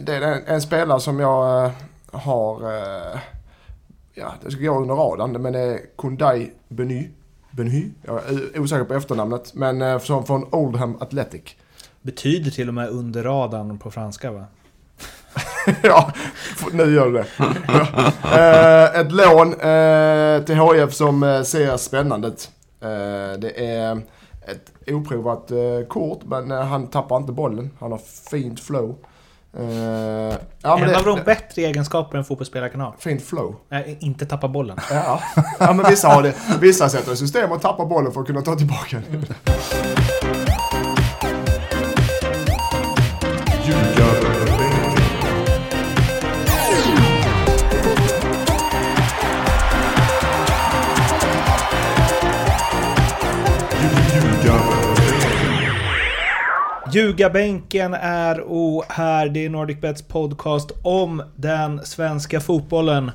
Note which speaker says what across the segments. Speaker 1: det är en, en spelare som jag eh, har... eh, Ja, det ska gå under radarn, men det är Kundai Beny. Beny? Jag är o- osäker på efternamnet. Men eh, som från Oldham Athletic.
Speaker 2: Betyder till och med under radarn på franska va?
Speaker 1: ja, f- nu gör du det. Eh, ett lån eh, till HIF som eh, ser spännande ut. Eh, det är ett oprovat eh, kort, men eh, han tappar inte bollen. Han har fint flow. Eh, ja, men
Speaker 2: en
Speaker 1: det-
Speaker 2: av de
Speaker 1: det-
Speaker 2: bättre egenskaperna en fotbollsspelare kan ha.
Speaker 1: Fint flow.
Speaker 2: Nej, inte tappa bollen.
Speaker 1: Ja. ja, men vissa har det. Vissa sätter i system och tappar bollen för att kunna ta tillbaka den.
Speaker 2: Ljugarbänken är och här, det är NordicBets podcast om den svenska fotbollen.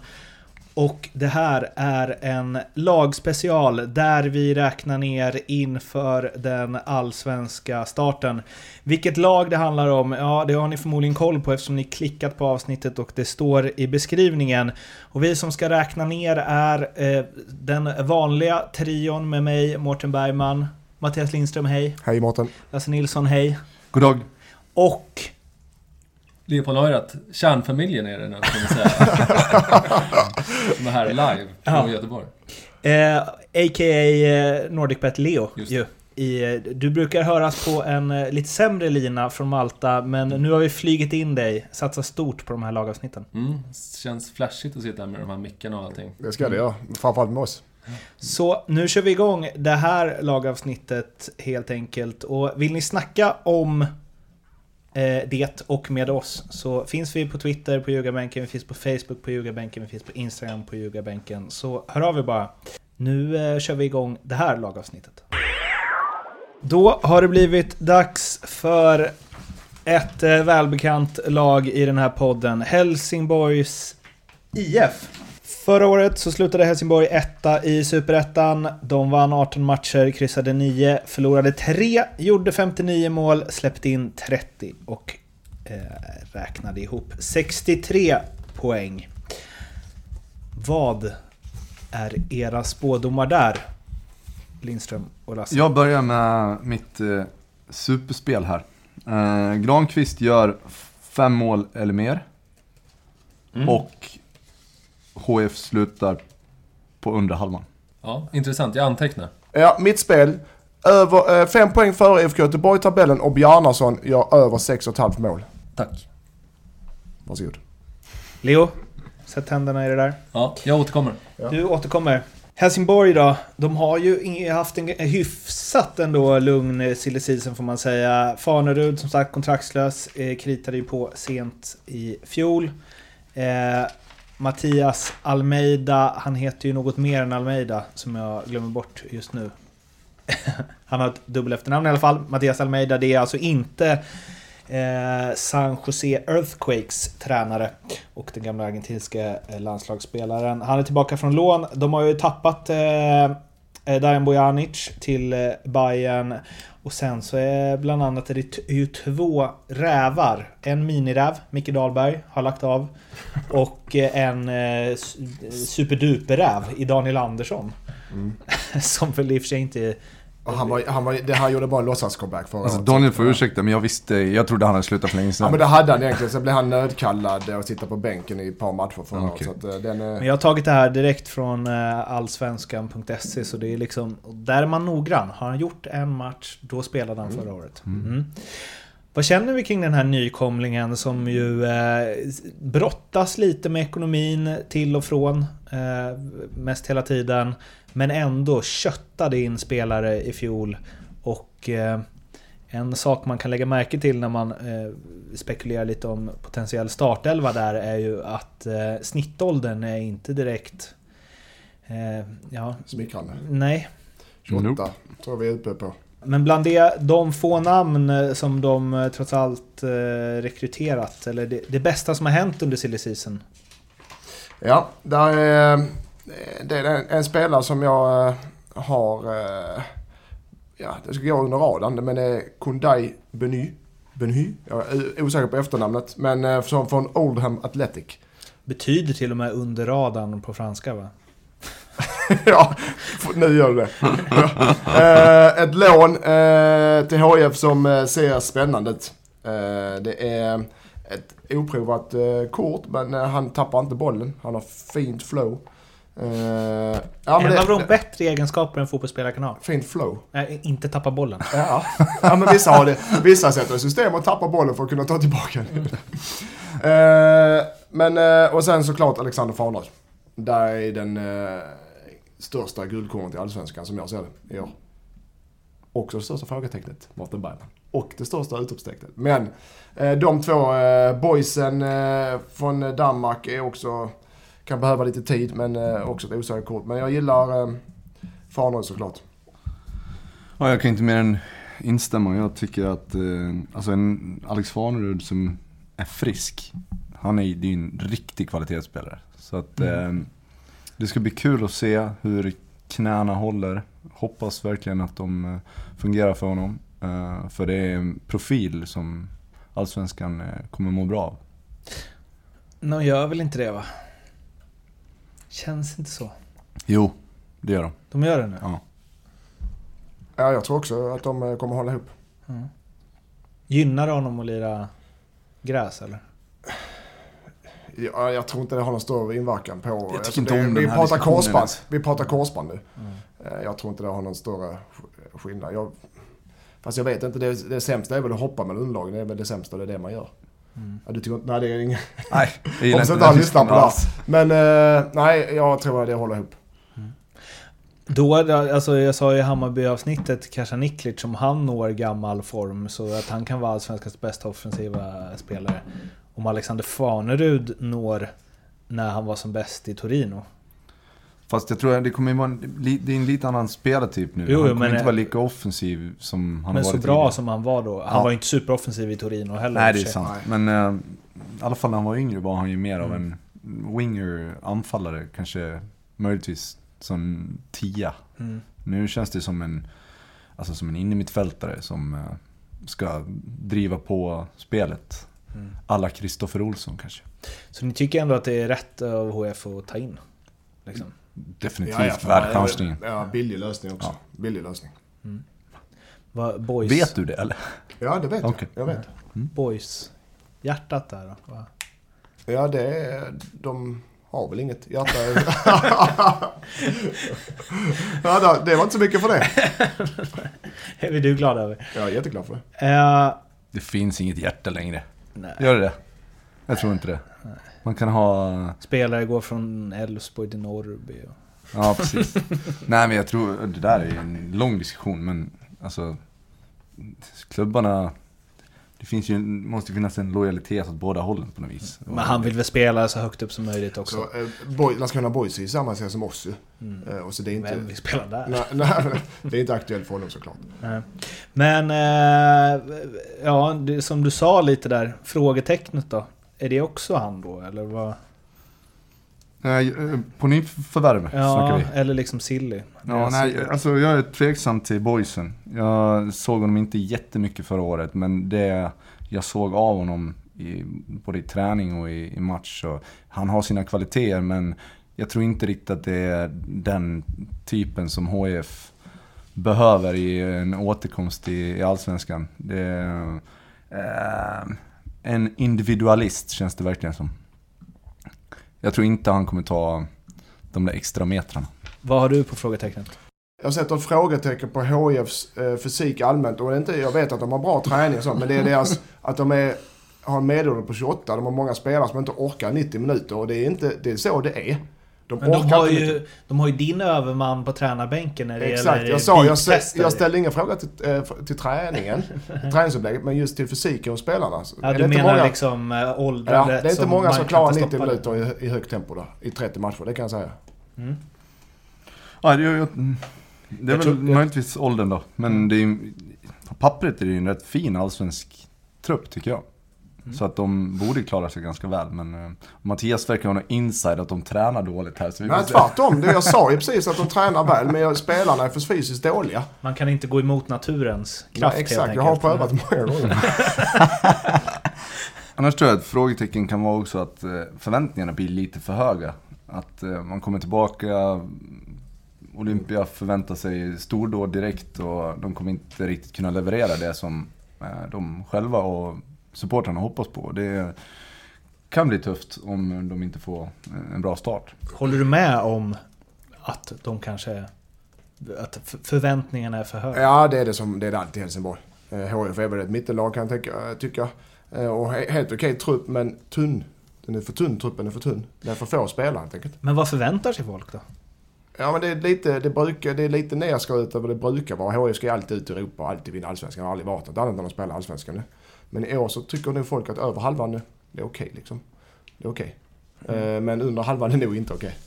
Speaker 2: Och det här är en lagspecial där vi räknar ner inför den allsvenska starten. Vilket lag det handlar om, ja det har ni förmodligen koll på eftersom ni klickat på avsnittet och det står i beskrivningen. Och vi som ska räkna ner är eh, den vanliga trion med mig, Mårten Bergman, Mattias Lindström, hej,
Speaker 1: Hej Mårten.
Speaker 2: Lasse Nilsson, hej.
Speaker 3: God dag.
Speaker 2: Och
Speaker 4: Leopold har ju rätt. Kärnfamiljen är det nu, kan man säga. Som är här live från
Speaker 2: Ja.
Speaker 4: Göteborg.
Speaker 2: eh, a.k.a. eh, NordicBet Leo.
Speaker 4: Just det.
Speaker 2: Ju, i, eh, du brukar höras på en eh, lite sämre lina från Malta, men nu har vi flygit in dig. Satsa stort på de här lagavsnitten.
Speaker 4: Mm. Känns flashigt att sitta här med de här mickarna och allting.
Speaker 1: Det ska det göra. Framförallt med oss.
Speaker 2: Så nu kör vi igång det här lagavsnittet helt enkelt. Och vill ni snacka om eh, det och med oss så finns vi på Twitter på Ljugarbänken, vi finns på Facebook på Ljugarbänken, vi finns på Instagram på Ljugarbänken. Så hör av er bara. Nu eh, kör vi igång det här lagavsnittet. Då har det blivit dags för ett eh, välbekant lag i den här podden. Helsingborgs IF. Förra året så slutade Helsingborg etta i Superettan. De vann 18 matcher, kryssade 9, förlorade 3, gjorde 59 mål, släppte in 30 och eh, räknade ihop 63 poäng. Vad är era spådomar där? Lindström och Lasse.
Speaker 3: Jag börjar med mitt eh, superspel här. Eh, Granqvist gör fem mål eller mer. Och HF slutar på undre halvan.
Speaker 4: Ja, intressant. Jag antecknar.
Speaker 1: Ja, mitt spel. Över, eh, fem poäng före IFK Göteborg i tabellen och Bjarnason gör över 6,5 mål.
Speaker 4: Tack.
Speaker 1: Varsågod.
Speaker 2: Leo, sätt händerna i det där.
Speaker 4: Ja, jag återkommer.
Speaker 2: Du återkommer. Helsingborg då, de har ju ing- haft en hyfsat ändå lugn eh, silly season får man säga. Fanerud som sagt kontraktslös, eh, kritade ju på sent i fjol. Eh, Mattias Almeida, han heter ju något mer än Almeida som jag glömmer bort just nu. han har ett dubbel efternamn i alla fall. Mattias Almeida, det är alltså inte eh, San Jose Earthquakes tränare och den gamla argentinska eh, landslagsspelaren. Han är tillbaka från lån. De har ju tappat eh, eh, Darijan Bojanic till eh, Bayern. Och sen så är bland annat är det t- ju två rävar. En miniräv, Micke Dahlberg, har lagt av. Och eh, en eh, su- eh, superduperräv i Daniel Andersson. Som väl i och för sig inte är...
Speaker 1: Och han, var, han, var, det, han gjorde bara en låtsas-comeback förra
Speaker 3: Alltså
Speaker 1: året.
Speaker 3: Daniel får ursäkta, men jag visste, jag trodde han hade slutat för
Speaker 1: Ja
Speaker 3: länge
Speaker 1: men
Speaker 3: sedan.
Speaker 1: det hade han egentligen, sen blev han nödkallad att sitta på bänken i ett par matcher förra året.
Speaker 3: Ah, Okej.
Speaker 1: Så att eh, den...
Speaker 2: Men
Speaker 1: eh,
Speaker 2: jag har tagit det här direkt från eh, allsvenskan.se så det är liksom, där är man noggrann. Har han gjort en match, då spelade han förra året. Mm. Vad känner vi kring den här nykomlingen som ju eh, brottas lite med ekonomin till och från eh, mest hela tiden. Men ändå köttade in spelare i fjol. Och eh, en sak man kan lägga märke till när man eh, spekulerar lite om potentiell startelva där är ju att eh, snittåldern är inte direkt... Eh, ja,
Speaker 1: Smickrande.
Speaker 2: nej.
Speaker 1: 28,
Speaker 3: Nope.
Speaker 1: tror jag vi är uppe på.
Speaker 2: Men bland det, de få namn eh, som de eh, trots allt eh, rekryterat, eller det, det bästa som har hänt under silly season.
Speaker 1: Ja, där är, eh, det är en, en spelare som jag eh, har... eh, Ja, det ska gå under radarn, men det är Kundai Beny. Benhy, jag är osäker på efternamnet, men eh, som från Oldham Athletic.
Speaker 2: Betyder till och med under radarn på franska va?
Speaker 1: ja, f- nu gör du det. Eh, Ett lån eh, till HIF som eh, ser spännande ut. Eh, Det är ett oprovat eh, kort, men eh, han tappar inte bollen. Han har fint flow. Eh, Ja, men
Speaker 2: en av de
Speaker 1: det,
Speaker 2: bättre egenskaperna en fotbollsspelare kan ha.
Speaker 1: fint flow.
Speaker 2: Nej, inte tappa bollen.
Speaker 1: Ja. ja, men vissa har det. Vissa sätter i system och tappar bollen för att kunna ta tillbaka den. Eh, men, eh, och sen såklart Alexander Farnerud. Där är den eh, största guldkornet i Allsvenskan som jag ser det i år. Också det största frågetecknet, Mårten Bergman. Och det största utropstecknet. Men eh, de två eh, boysen eh, från Danmark är också, kan behöva lite tid, men eh, också ett osäkert kort. Men jag gillar eh, Farnerud såklart.
Speaker 3: Ja, jag kan inte mer än instämma. Jag tycker att eh, alltså en Alex Farnerud som är frisk, han är, det är ju en riktig kvalitetsspelare. Så att, eh, det ska bli kul att se hur knäna håller. Hoppas verkligen att de eh, fungerar för honom. Eh, för det är en profil som Allsvenskan eh, kommer må bra av.
Speaker 2: De gör väl inte det va? Känns inte så.
Speaker 3: Jo, det gör de.
Speaker 2: De gör det nu.
Speaker 3: Ja.
Speaker 1: Ja, jag tror också att de eh, kommer hålla ihop.
Speaker 2: Gynnar det honom att lira gräs eller?
Speaker 1: Jag, jag tror inte det har någon större inverkan på... Jag
Speaker 3: tycker inte om
Speaker 1: vi,
Speaker 3: den här
Speaker 1: pratar
Speaker 3: diskussionen
Speaker 1: korsband.
Speaker 3: ens. Mm.
Speaker 1: vi pratar korsband nu. Eh, Jag tror inte det har någon större sk- skillnad. Jag, fast jag vet inte, det, det sämsta är väl att hoppa med underlagen. Det är väl det sämsta, det är det man gör.
Speaker 3: Mm.
Speaker 1: Ja, du tycker inte, nej det är inget.
Speaker 3: Nej, jag
Speaker 1: Hoppas
Speaker 3: den
Speaker 1: inte han
Speaker 3: här
Speaker 1: lyssnar på det här.
Speaker 3: alls.
Speaker 1: Men eh, nej, jag tror att det håller ihop.
Speaker 2: Då, är det- alltså jag sa i Hammarby-avsnittet, Kasia Niklic, om han når gammal form så att han kan vara Allsvenskans bästa offensiva spelare. Om Alexander Farnerud når när han var som bäst i Torino.
Speaker 3: Fast jag tror att det kommer ju vara en, li- det är en lite annan spelartyp nu.
Speaker 2: Jo,
Speaker 3: han
Speaker 2: jo,
Speaker 3: kommer
Speaker 2: men- eh,
Speaker 3: inte vara lika offensiv som han
Speaker 2: Men
Speaker 3: har
Speaker 2: så
Speaker 3: varit
Speaker 2: bra
Speaker 3: tidigare.
Speaker 2: som han var då. Han
Speaker 3: Ja.
Speaker 2: var ju inte superoffensiv i Torino heller. i
Speaker 3: Nej,
Speaker 2: och
Speaker 3: det är
Speaker 2: för sig.
Speaker 3: sant. Men eh, i alla fall när han var yngre var han ju mer av
Speaker 2: Mm.
Speaker 3: en winger, anfallare kanske. Möjligtvis som tia.
Speaker 2: Mm.
Speaker 3: Nu känns det som en, alltså som en innermittfältare som eh, ska driva på spelet.
Speaker 2: Mm.
Speaker 3: Alla Kristoffer Olsson kanske.
Speaker 2: Så ni tycker ändå att det är rätt av HF att ta in? Liksom.
Speaker 3: Definitivt
Speaker 1: Ja, ja, fan,
Speaker 3: värd chansningen.
Speaker 1: Ja, billig lösning också. Billig lösning.
Speaker 2: Vad boys,
Speaker 3: Vet du det eller?
Speaker 1: Ja, det vet
Speaker 3: Okej.
Speaker 1: jag. Jag vet.
Speaker 2: boys hjärtat där då? Va?
Speaker 1: Ja, det är... De har väl inget hjärta. ja, det- det var inte så mycket för det.
Speaker 2: Är du glad över?
Speaker 1: Jag är jätteglad för det.
Speaker 2: Eh,
Speaker 3: Det finns inget hjärta längre.
Speaker 2: nej.
Speaker 3: Gör det det? Jag tror inte det. Man kan ha...
Speaker 2: Spelare går från Elfsborg till Norrby. Och...
Speaker 3: Ja, precis. Nej, men jag tror... Det där är en lång diskussion, men alltså... Klubbarna... Det finns ju, en- måste ju finnas en lojalitet åt båda hållen på något vis.
Speaker 2: Men han vill väl spela så högt upp som möjligt också.
Speaker 1: Så, eh, boy, Landskrona Boys är ju samma serie som oss ju.
Speaker 2: Mm.
Speaker 1: Eh, och så det är inte...
Speaker 2: Vem vill spela där?
Speaker 1: Nej, nej, det är inte aktuellt för honom såklart.
Speaker 2: Nej. Men, eh, ja, det, som du sa lite där, frågetecknet då? Är det också han då, eller vad?
Speaker 3: Nej, Eh, på nyförvärv snackar
Speaker 2: Ja,
Speaker 3: vi.
Speaker 2: eller liksom Silly.
Speaker 3: Ja, nej, alltså jag är tveksam till boysen. Jag såg honom inte jättemycket förra året, men det jag såg av honom i, både i träning och i, i match. Så han har sina kvaliteter, men jag tror inte riktigt att det är den typen som HIF behöver i en återkomst i, i Allsvenskan. Det är, eh, en individualist känns det verkligen som. Jag tror inte han kommer ta de där extra metrarna.
Speaker 2: Vad har du på frågetecknet?
Speaker 1: Jag sätter ett frågetecken på HIFs eh, fysik allmänt. Och det är inte, jag vet att de har bra träning och sånt, men det är deras... Att de är, har en medelålder på 28, de har många spelare som inte orkar 90 minuter. Och det är inte... Det är så det är. De
Speaker 2: Men de
Speaker 1: orkar
Speaker 2: har,
Speaker 1: inte 90
Speaker 2: ju, de har ju din överman på tränarbänken när det
Speaker 1: Exakt,
Speaker 2: gäller
Speaker 1: jag sa, jag, stä,
Speaker 2: bitfester.
Speaker 1: jag ställde ingen fråga till, eh, för- till träningen, träningsupplägget, men just till fysiken hos spelarna. Så
Speaker 2: Ja,
Speaker 1: är
Speaker 2: du
Speaker 1: det inte
Speaker 2: menar
Speaker 1: många-
Speaker 2: liksom eh,
Speaker 1: Ja,
Speaker 2: åldrandet
Speaker 1: det är inte
Speaker 2: som
Speaker 1: många
Speaker 2: man
Speaker 1: som
Speaker 2: kan
Speaker 1: klarar
Speaker 2: inte
Speaker 1: 90
Speaker 2: stoppa det.
Speaker 1: minuter i, i högt tempo då, i 30 matcher, det kan jag säga.
Speaker 3: Ja, det, jag, det är
Speaker 2: Jag
Speaker 3: väl
Speaker 2: tror- jag-
Speaker 3: möjligtvis åldern då. Men det är, ju- på pappret är det ju en rätt fin allsvensk trupp tycker jag.
Speaker 2: Mm.
Speaker 3: Så att de borde klara sig ganska väl. Men eh, Mattias verkar ha någon inside att de tränar dåligt här. Så vi
Speaker 1: Nej,
Speaker 3: får se.
Speaker 1: tvärtom. Det jag sa ju precis att de tränar väl, men spelarna är för fysiskt dåliga.
Speaker 2: Man kan inte gå emot naturens
Speaker 1: Ja,
Speaker 2: kraft
Speaker 1: exakt, jag har prövat många gånger.
Speaker 3: Annars tror jag att frågetecken kan vara också att eh, förväntningarna blir lite för höga. Att eh, man kommer tillbaka, Olympia förväntar sig stordåd direkt och de kommer inte riktigt kunna leverera det som eh, de själva och supportrarna hoppas på. Det kan bli tufft om de inte får eh, en bra start.
Speaker 2: Håller du med om att de kanske... Att f- förväntningarna är för höga?
Speaker 1: Ja, det är det som det är det alltid i Helsingborg. Eh, HIF är väl ett mittenlag kan jag tänka, tycka. Eh, Och he- helt okej trupp, men tunn. Den är för tunn, truppen är för tunn. Den är för få spelare helt enkelt.
Speaker 2: Men vad förväntar sig folk då?
Speaker 1: Ja, men det är lite, det brukar, det är lite nerskruvat över det brukar vara. HIF ska ju alltid ut i Europa och alltid vinna allsvenskan. Det har aldrig varit något annat än att spela allsvenskan nu. Men i år så tycker nog folk att över halvan nu, det är okej liksom. Det är okej. Eh, Men under halvan är nog inte okej.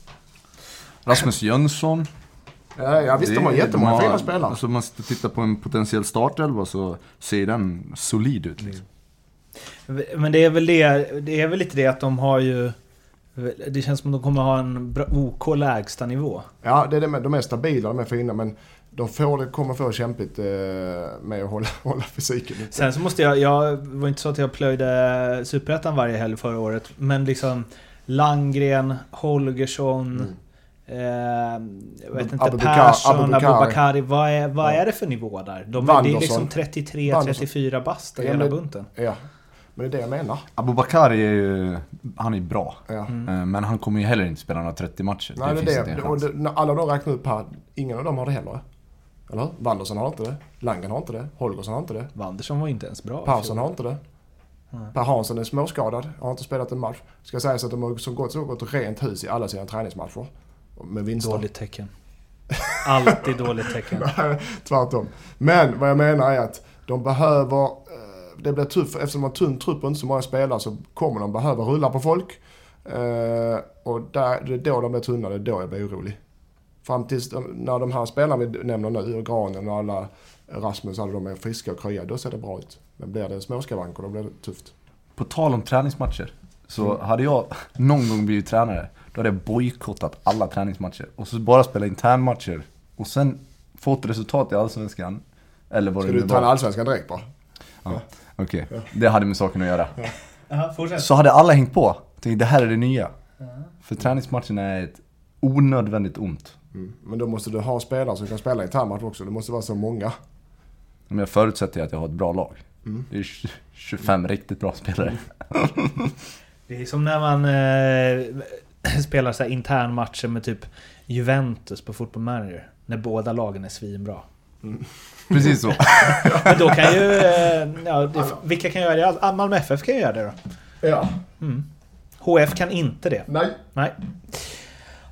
Speaker 3: Rasmus Jönsson.
Speaker 1: Ja, ja visst, de har
Speaker 3: det-
Speaker 1: jättemånga
Speaker 3: de har-
Speaker 1: fina spelare.
Speaker 3: Alltså om man sitter och tittar på en potentiell startelva så ser den solid
Speaker 1: Mm.
Speaker 3: ut. Liksom.
Speaker 2: Men det är väl det, det är väl lite det att de har ju... Det känns som att de kommer ha en bra, OK lägstanivå.
Speaker 1: Ja, det är det med, de är stabila, de är fina, men de får det kommer få kämpigt eh, med att hålla, hålla fysiken ute.
Speaker 2: Sen så måste jag, jag det var inte så att jag plöjde Superettan varje helg förra året, men liksom Langgren, Holgersson,
Speaker 1: Mm.
Speaker 2: eh, jag vet inte,
Speaker 1: Abubakar-
Speaker 2: Persson,
Speaker 1: Abubakar.
Speaker 2: Abubakari. Vad, är, vad
Speaker 1: Ja.
Speaker 2: är det för nivå där? De, det är
Speaker 1: Wanderson.
Speaker 2: liksom 33-34 bast i
Speaker 1: Ja,
Speaker 2: hela
Speaker 1: men-
Speaker 2: bunten.
Speaker 1: Ja, men det är det jag menar.
Speaker 3: Abubakari är ju, han är bra.
Speaker 1: Ja.
Speaker 2: Mm.
Speaker 3: Eh, Men han kommer ju heller inte spela några 30 matcher.
Speaker 1: Nej, det
Speaker 3: finns
Speaker 1: är
Speaker 3: inte
Speaker 1: det.
Speaker 3: en
Speaker 1: Och
Speaker 3: chans.
Speaker 1: det, när alla de räknar upp här, ingen av dem har det heller. Eller hur? Wanderson har inte det. Langen har inte det. Holgersson har inte det.
Speaker 2: Wanderson var inte ens bra. i
Speaker 1: Persson
Speaker 2: fjol.
Speaker 1: har inte det.
Speaker 2: Nej.
Speaker 1: Per Hansson är småskadad, har inte spelat en match. Ska sägas att de har så gott så gått rent hus i alla sina träningsmatcher. Med vinster.
Speaker 2: Dåligt tecken. Alltid dåligt tecken.
Speaker 1: Nej, Tvärtom. Men vad jag menar är att de behöver... eh, Det blir tufft, eftersom de har tunn trupp och inte så många spelare så kommer de behöva rulla på folk. Eh, Och där, det är då de blir tunna, det är då jag blir orolig. Fram tills de, när de här spelarna vi nämner nu, och Granen och alla Rasmus, alla de är friska och krya, då ser det bra ut. Men blir det småskavanker, då blir det Mm. tufft.
Speaker 3: På tal om träningsmatcher. Så hade jag någon gång blivit tränare, då hade jag bojkottat alla träningsmatcher. Och så bara spela internmatcher. Och sen fått resultat i Allsvenskan. Eller vad
Speaker 1: Ska
Speaker 3: det
Speaker 1: du
Speaker 3: nu
Speaker 1: ta en
Speaker 3: var.
Speaker 1: allsvenskan direkt bara?
Speaker 3: Okej, det hade med saken att göra.
Speaker 2: Aha, fortsätt.
Speaker 3: Så hade alla hängt på. Tänkte det här är det nya. För träningsmatcherna är ett onödvändigt ont.
Speaker 1: Mm. Men då måste du ha spelare som kan spela i internmatch också. Det måste vara så många.
Speaker 3: Men jag förutsätter ju att jag har ett bra lag.
Speaker 1: Mm.
Speaker 3: Det är tj- 25 riktigt bra spelare.
Speaker 2: Det är som när man eh, spelar så här internmatcher med typ Juventus på Football Manager. När båda lagen är svinbra.
Speaker 3: Precis så.
Speaker 2: Men då kan ju... Eh, ja, det, vilka kan göra det? Ah, Malmö FF kan ju göra det då.
Speaker 1: Ja.
Speaker 2: HF kan inte det.
Speaker 1: Nej.
Speaker 2: Nej.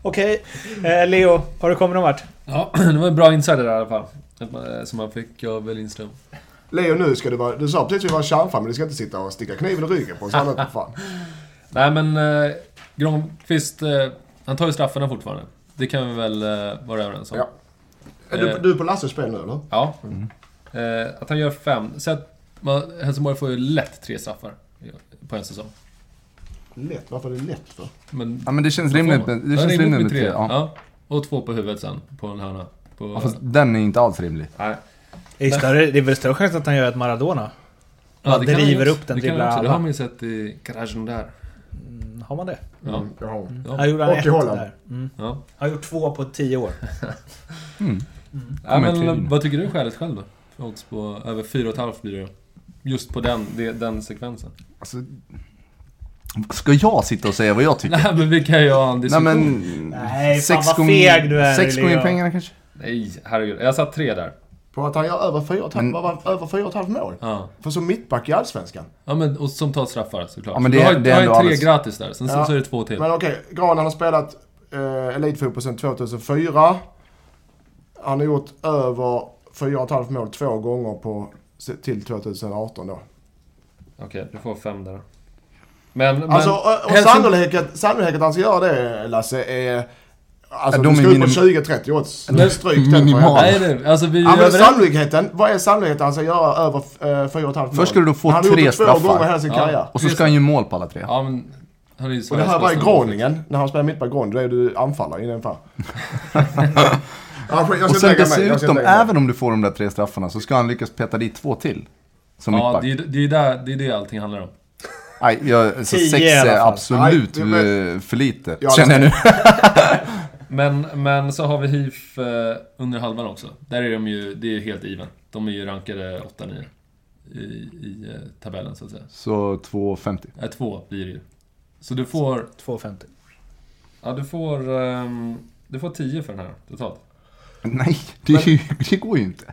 Speaker 2: Okej, eh, Leo. Har du kommit någon vart?
Speaker 4: Ja, det var en bra insider där i alla fall. Att man- eh, Som man fick av Lindström.
Speaker 1: Leo, nu ska du vara... Du sa precis att vi var en kärnfamilj, du ska inte sitta och sticka kniven i ryggen på oss alla för fan.
Speaker 4: Nej men eh, Granqvist, eh, han tar ju straffarna fortfarande. Det kan vi väl eh, vara överens om?
Speaker 1: Ja. Mm. Är du, du är på Lasses spel nu eller?
Speaker 4: Ja. Eh, att han gör fem. Så att man, Helsingborg får ju lätt tre straffar på en säsong.
Speaker 1: Lätt, varför är det lätt för?
Speaker 4: Men,
Speaker 3: Ja men det känns
Speaker 4: Vad får
Speaker 3: rimligt
Speaker 4: man?
Speaker 3: med,
Speaker 4: Ja,
Speaker 3: det känns rimligt med tre. Ja.
Speaker 4: Ja. Och två på huvudet sen, på en hörna. På,
Speaker 3: Ja, fast den är inte alls rimlig.
Speaker 4: Nej.
Speaker 2: Det är, större, det är väl större chans att han gör ett Maradona? Ja, det
Speaker 4: kan han
Speaker 2: river
Speaker 4: ju-
Speaker 2: upp den,
Speaker 4: det kan han
Speaker 2: dribblar
Speaker 4: också. Det
Speaker 2: alla.
Speaker 4: har man ju sett i garagen där.
Speaker 2: Mm, Har man det?
Speaker 4: Ja.
Speaker 1: Mm, jag har.
Speaker 4: Ja.
Speaker 2: Han gjorde han
Speaker 1: Och i
Speaker 2: ett
Speaker 1: Holland.
Speaker 2: där. Mm.
Speaker 4: Ja.
Speaker 2: Han har gjort två på tio år.
Speaker 4: Ja,
Speaker 3: Kommentin.
Speaker 4: men, vad tycker du skälet själv då? För Odds på över 4,5 blir det Just på den, det- den sekvensen.
Speaker 3: Alltså, ska jag sitta och säga vad jag tycker?
Speaker 4: Nej men vi kan ju ha en
Speaker 3: Nej
Speaker 4: diskussion. Nej,
Speaker 3: men...
Speaker 2: Nej, fan, vad feg du är,
Speaker 3: Sex gånger
Speaker 2: Leo.
Speaker 3: pengarna kanske?
Speaker 4: herregud. Jag satt tre där.
Speaker 1: På att han gör över fyra och ett halvt-
Speaker 3: Men-
Speaker 1: vad var- över fyra och ett halvt mål?
Speaker 4: Ja.
Speaker 1: För som mittback i Allsvenskan.
Speaker 4: ja men, och som tar straffar såklart.
Speaker 3: Ja, men
Speaker 4: Så
Speaker 3: det
Speaker 4: du har,
Speaker 3: är-
Speaker 4: ju-
Speaker 3: det
Speaker 4: du
Speaker 3: är
Speaker 4: har ju
Speaker 3: ändå
Speaker 4: tre
Speaker 3: alldeles-
Speaker 4: gratis där, sen
Speaker 1: Ja.
Speaker 4: så är det två till.
Speaker 1: Men okej, Granen har spelat eh, elitfotboll sedan 2004. Han har gjort över fyra och ett halvt mål två gånger på, till 2018 då.
Speaker 4: Okej, du får fem där. Men, men
Speaker 1: Alltså, och, och
Speaker 4: Helsing-
Speaker 1: sannolikheten, sannolikheten att han ska göra det, Lasse, är... Alltså
Speaker 3: Ja, de
Speaker 1: vi ska
Speaker 3: är
Speaker 1: ut på
Speaker 3: minim-
Speaker 1: 20-30 odds.
Speaker 4: Men-
Speaker 1: Stryk den
Speaker 3: minimal.
Speaker 1: för helvete.
Speaker 4: Nej nu, alltså vi är
Speaker 1: Ja, men
Speaker 4: överens.
Speaker 1: sannolikheten, vad är sannolikheten att han ska göra över eh, 4,5 mål?
Speaker 3: Först ska du då få
Speaker 1: han har
Speaker 3: tre
Speaker 1: gjort det två
Speaker 3: straffar.
Speaker 1: gånger hela sin
Speaker 4: Ja.
Speaker 1: karriär.
Speaker 3: Och så ska han ju mål på alla tre.
Speaker 4: Ja men... Han är ju
Speaker 1: Och det
Speaker 4: Sveriges
Speaker 1: här var i
Speaker 4: bästa målvakt.
Speaker 1: Groningen, när han spelar mittback Groningen, då är du anfallare i den fall. ja, skit, jag
Speaker 3: Och
Speaker 1: ska
Speaker 3: sen
Speaker 1: inte lägga mig. Jag ska
Speaker 3: dessutom,
Speaker 1: inte lägga mig.
Speaker 3: även om du får de där tre straffarna så ska han lyckas peta dit två till. Som
Speaker 4: Ja,
Speaker 3: mittback.
Speaker 4: det är, det, är där, det är det allting handlar om.
Speaker 3: Nej, jag, alltså,
Speaker 2: Tio
Speaker 3: sex
Speaker 2: i alla
Speaker 3: är
Speaker 2: fall.
Speaker 3: absolut
Speaker 1: Nej, men-
Speaker 3: eh, för lite,
Speaker 1: Ja,
Speaker 3: känner jag nu.
Speaker 4: Men, men så har vi HIF eh, under halvan också. Där är de ju, det är ju helt even. De är ju rankade 8-9 i, i eh, tabellen så att säga.
Speaker 3: Så 2,50.
Speaker 4: Nej, två blir det ju. Så du får,
Speaker 2: 2,50.
Speaker 4: ja du får, ehm, du får 10 för den här totalt.
Speaker 3: Nej, det, är ju- det går ju inte.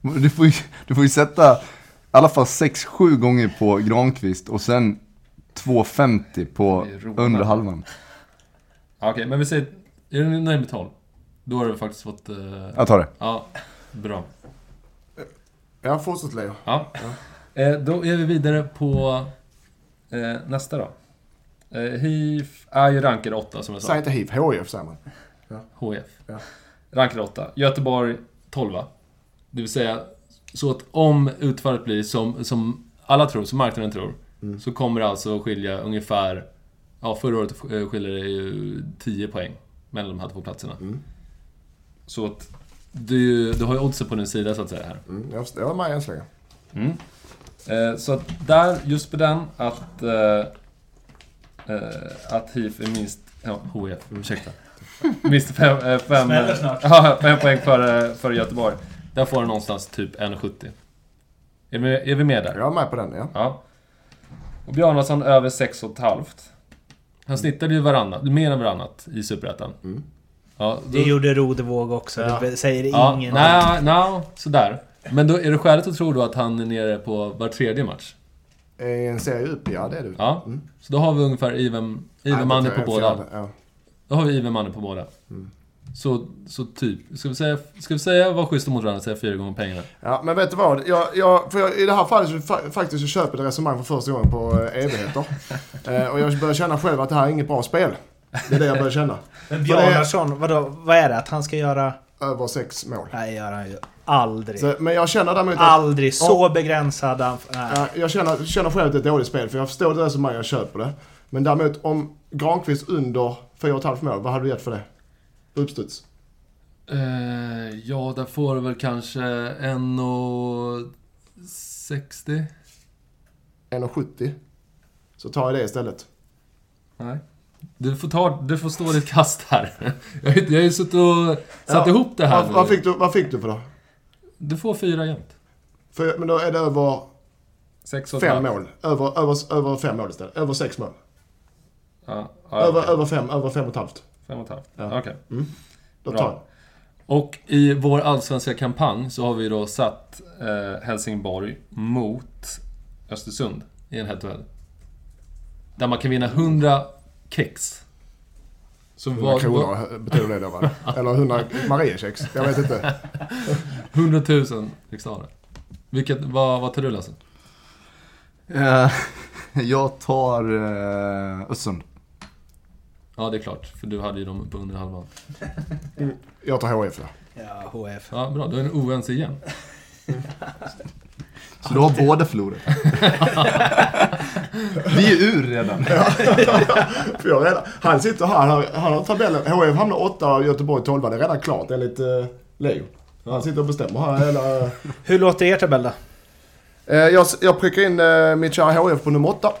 Speaker 3: Du får ju, du får ju sätta i alla fall 6-7 gånger på Granqvist och sen 2,50 på
Speaker 4: Det är roligt.
Speaker 3: undre halvan.
Speaker 4: Ja, Okej, men vi säger, är du nöjd med 12? Då har du faktiskt fått, eh,
Speaker 3: Jag tar det.
Speaker 4: ja, bra.
Speaker 1: Ja, fortsätt Leo.
Speaker 4: Ja. Eh, då är vi vidare på eh, nästa då. Eh, HIF är ju rankade 8 som jag sa.
Speaker 1: Säg inte HIF, HIF säger man.
Speaker 4: HF.
Speaker 1: Ja.
Speaker 4: Rankade 8. Göteborg 12. Det vill säga, så att om utfallet blir som, som alla tror, som marknaden tror, så kommer det alltså skilja ungefär... Ja, förra året eh, skiljer det ju 10 poäng mellan de här två platserna. Så att du, du har ju oddsen på din sida så att säga här.
Speaker 1: Mm, jag förstår, jag är med än så länge.
Speaker 4: Eh, så att där, just på den, att... Eh, eh, att HIF är minst... Oh, Ja, HIF, ursäkta. Minst fem, eh, fem,
Speaker 2: Smäller
Speaker 4: eh,
Speaker 2: snart.
Speaker 4: ja, fem poäng före för Göteborg. Där får du någonstans typ 1,70. Är vi, är vi med där?
Speaker 1: Jag är med på den, ja.
Speaker 4: Ja. Och Bjarnason över 6,5. Han snittade ju varannat, mer än varannat i Superettan.
Speaker 1: Mm.
Speaker 4: Ja, då-
Speaker 2: Det gjorde Rodevåg också,
Speaker 1: Ja.
Speaker 2: det säger
Speaker 4: Ja,
Speaker 2: ingen
Speaker 4: nej, nej, sådär. Men då är det skäligt att tro då att han är nere på var tredje match?
Speaker 1: I en serie upp, ja det är du.
Speaker 4: Ja,
Speaker 1: Mm.
Speaker 4: så då har vi ungefär even, even money på båda.
Speaker 1: Ja.
Speaker 4: Då har vi even money på båda.
Speaker 1: Mm.
Speaker 4: Så, så typ, ska vi säga, ska vi säga var schyssta mot varandra och säga fyra gånger pengarna?
Speaker 1: ja, men vet du vad? Jag, jag, för jag, I det här fallet så fa- faktiskt så köper jag ett resonemang för första gången på eh, evigheter. eh, och jag börjar känna själv att det här är inget bra spel. Det är det jag börjar känna.
Speaker 2: Men Bjarnason, vadå, vad är det? Att han ska göra...
Speaker 1: Över sex mål.
Speaker 2: Nej, gör han ju aldrig.
Speaker 1: Så, men jag känner däremot att...
Speaker 2: Aldrig. Så begränsad han... Nej.
Speaker 1: Ja, jag känner, känner själv att det är ett dåligt spel, för jag förstår det som man jag köper det. Men däremot om Granqvist under 4,5 mål, vad hade du gett för det? Uppstuds?
Speaker 4: Eh, ja, där får du väl kanske 1,60?
Speaker 1: 1,70? Så tar jag det istället.
Speaker 4: Nej. Du får, ta, du får stå ditt kast här. Jag har ju- jag har ju suttit och satt
Speaker 1: Ja,
Speaker 4: ihop det här
Speaker 1: Vad,
Speaker 4: nu.
Speaker 1: vad, fick, du, vad fick du för det?
Speaker 4: Du får fyra jämt.
Speaker 1: För, men då är det över
Speaker 4: Sex och ett
Speaker 1: fem
Speaker 4: halvt.
Speaker 1: mål. Över, över, över fem mål istället. Över sex mål.
Speaker 4: Ja,
Speaker 1: över,
Speaker 4: över, över.
Speaker 1: över fem, över fem och ett halvt.
Speaker 4: Fem och ett halvt.
Speaker 1: Ja.
Speaker 4: Okej.
Speaker 1: Då
Speaker 4: Bra.
Speaker 1: tar jag.
Speaker 4: Och i vår allsvenska kampanj så har vi då satt eh, Helsingborg mot Östersund i en head to head. Där man kan vinna 100 kex. Så
Speaker 1: 100
Speaker 4: vad, vad,
Speaker 1: kronor betyder det då va? Eller 100 Mariekex. Jag vet inte.
Speaker 4: 100 000 riksdaler. Vilket, vad, vad tar du Lasse?
Speaker 3: Eh, jag tar eh, Östersund.
Speaker 4: Ja, det är klart. För du hade ju dem på under halvan.
Speaker 1: Jag tar HIF då.
Speaker 2: Ja, HF.
Speaker 4: Ja, bra. Då är ni oense igen.
Speaker 3: Så då har båda förlorat. Vi är ur redan.
Speaker 1: För jag redan, han sitter här, han, han har tabellen. HIF hamnar 8 och Göteborg 12. Det är redan klart enligt uh, Leo. Han sitter och bestämmer här hela...
Speaker 2: Hur låter er tabell då?
Speaker 1: Eh, jag, jag prickar in eh, mitt kära HIF på nummer 8.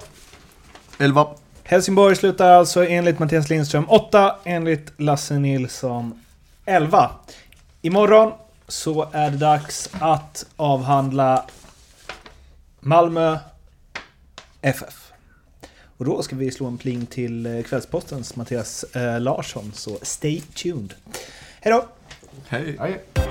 Speaker 3: Elva.
Speaker 2: Helsingborg slutar alltså enligt Mattias Lindström 8, enligt Lasse Nilsson 11. Imorgon så är det dags att avhandla Malmö FF. Och då ska vi slå en pling till eh, Kvällspostens Mattias eh, Larsson, så stay tuned. Hej då!
Speaker 3: Hej.
Speaker 1: Nej.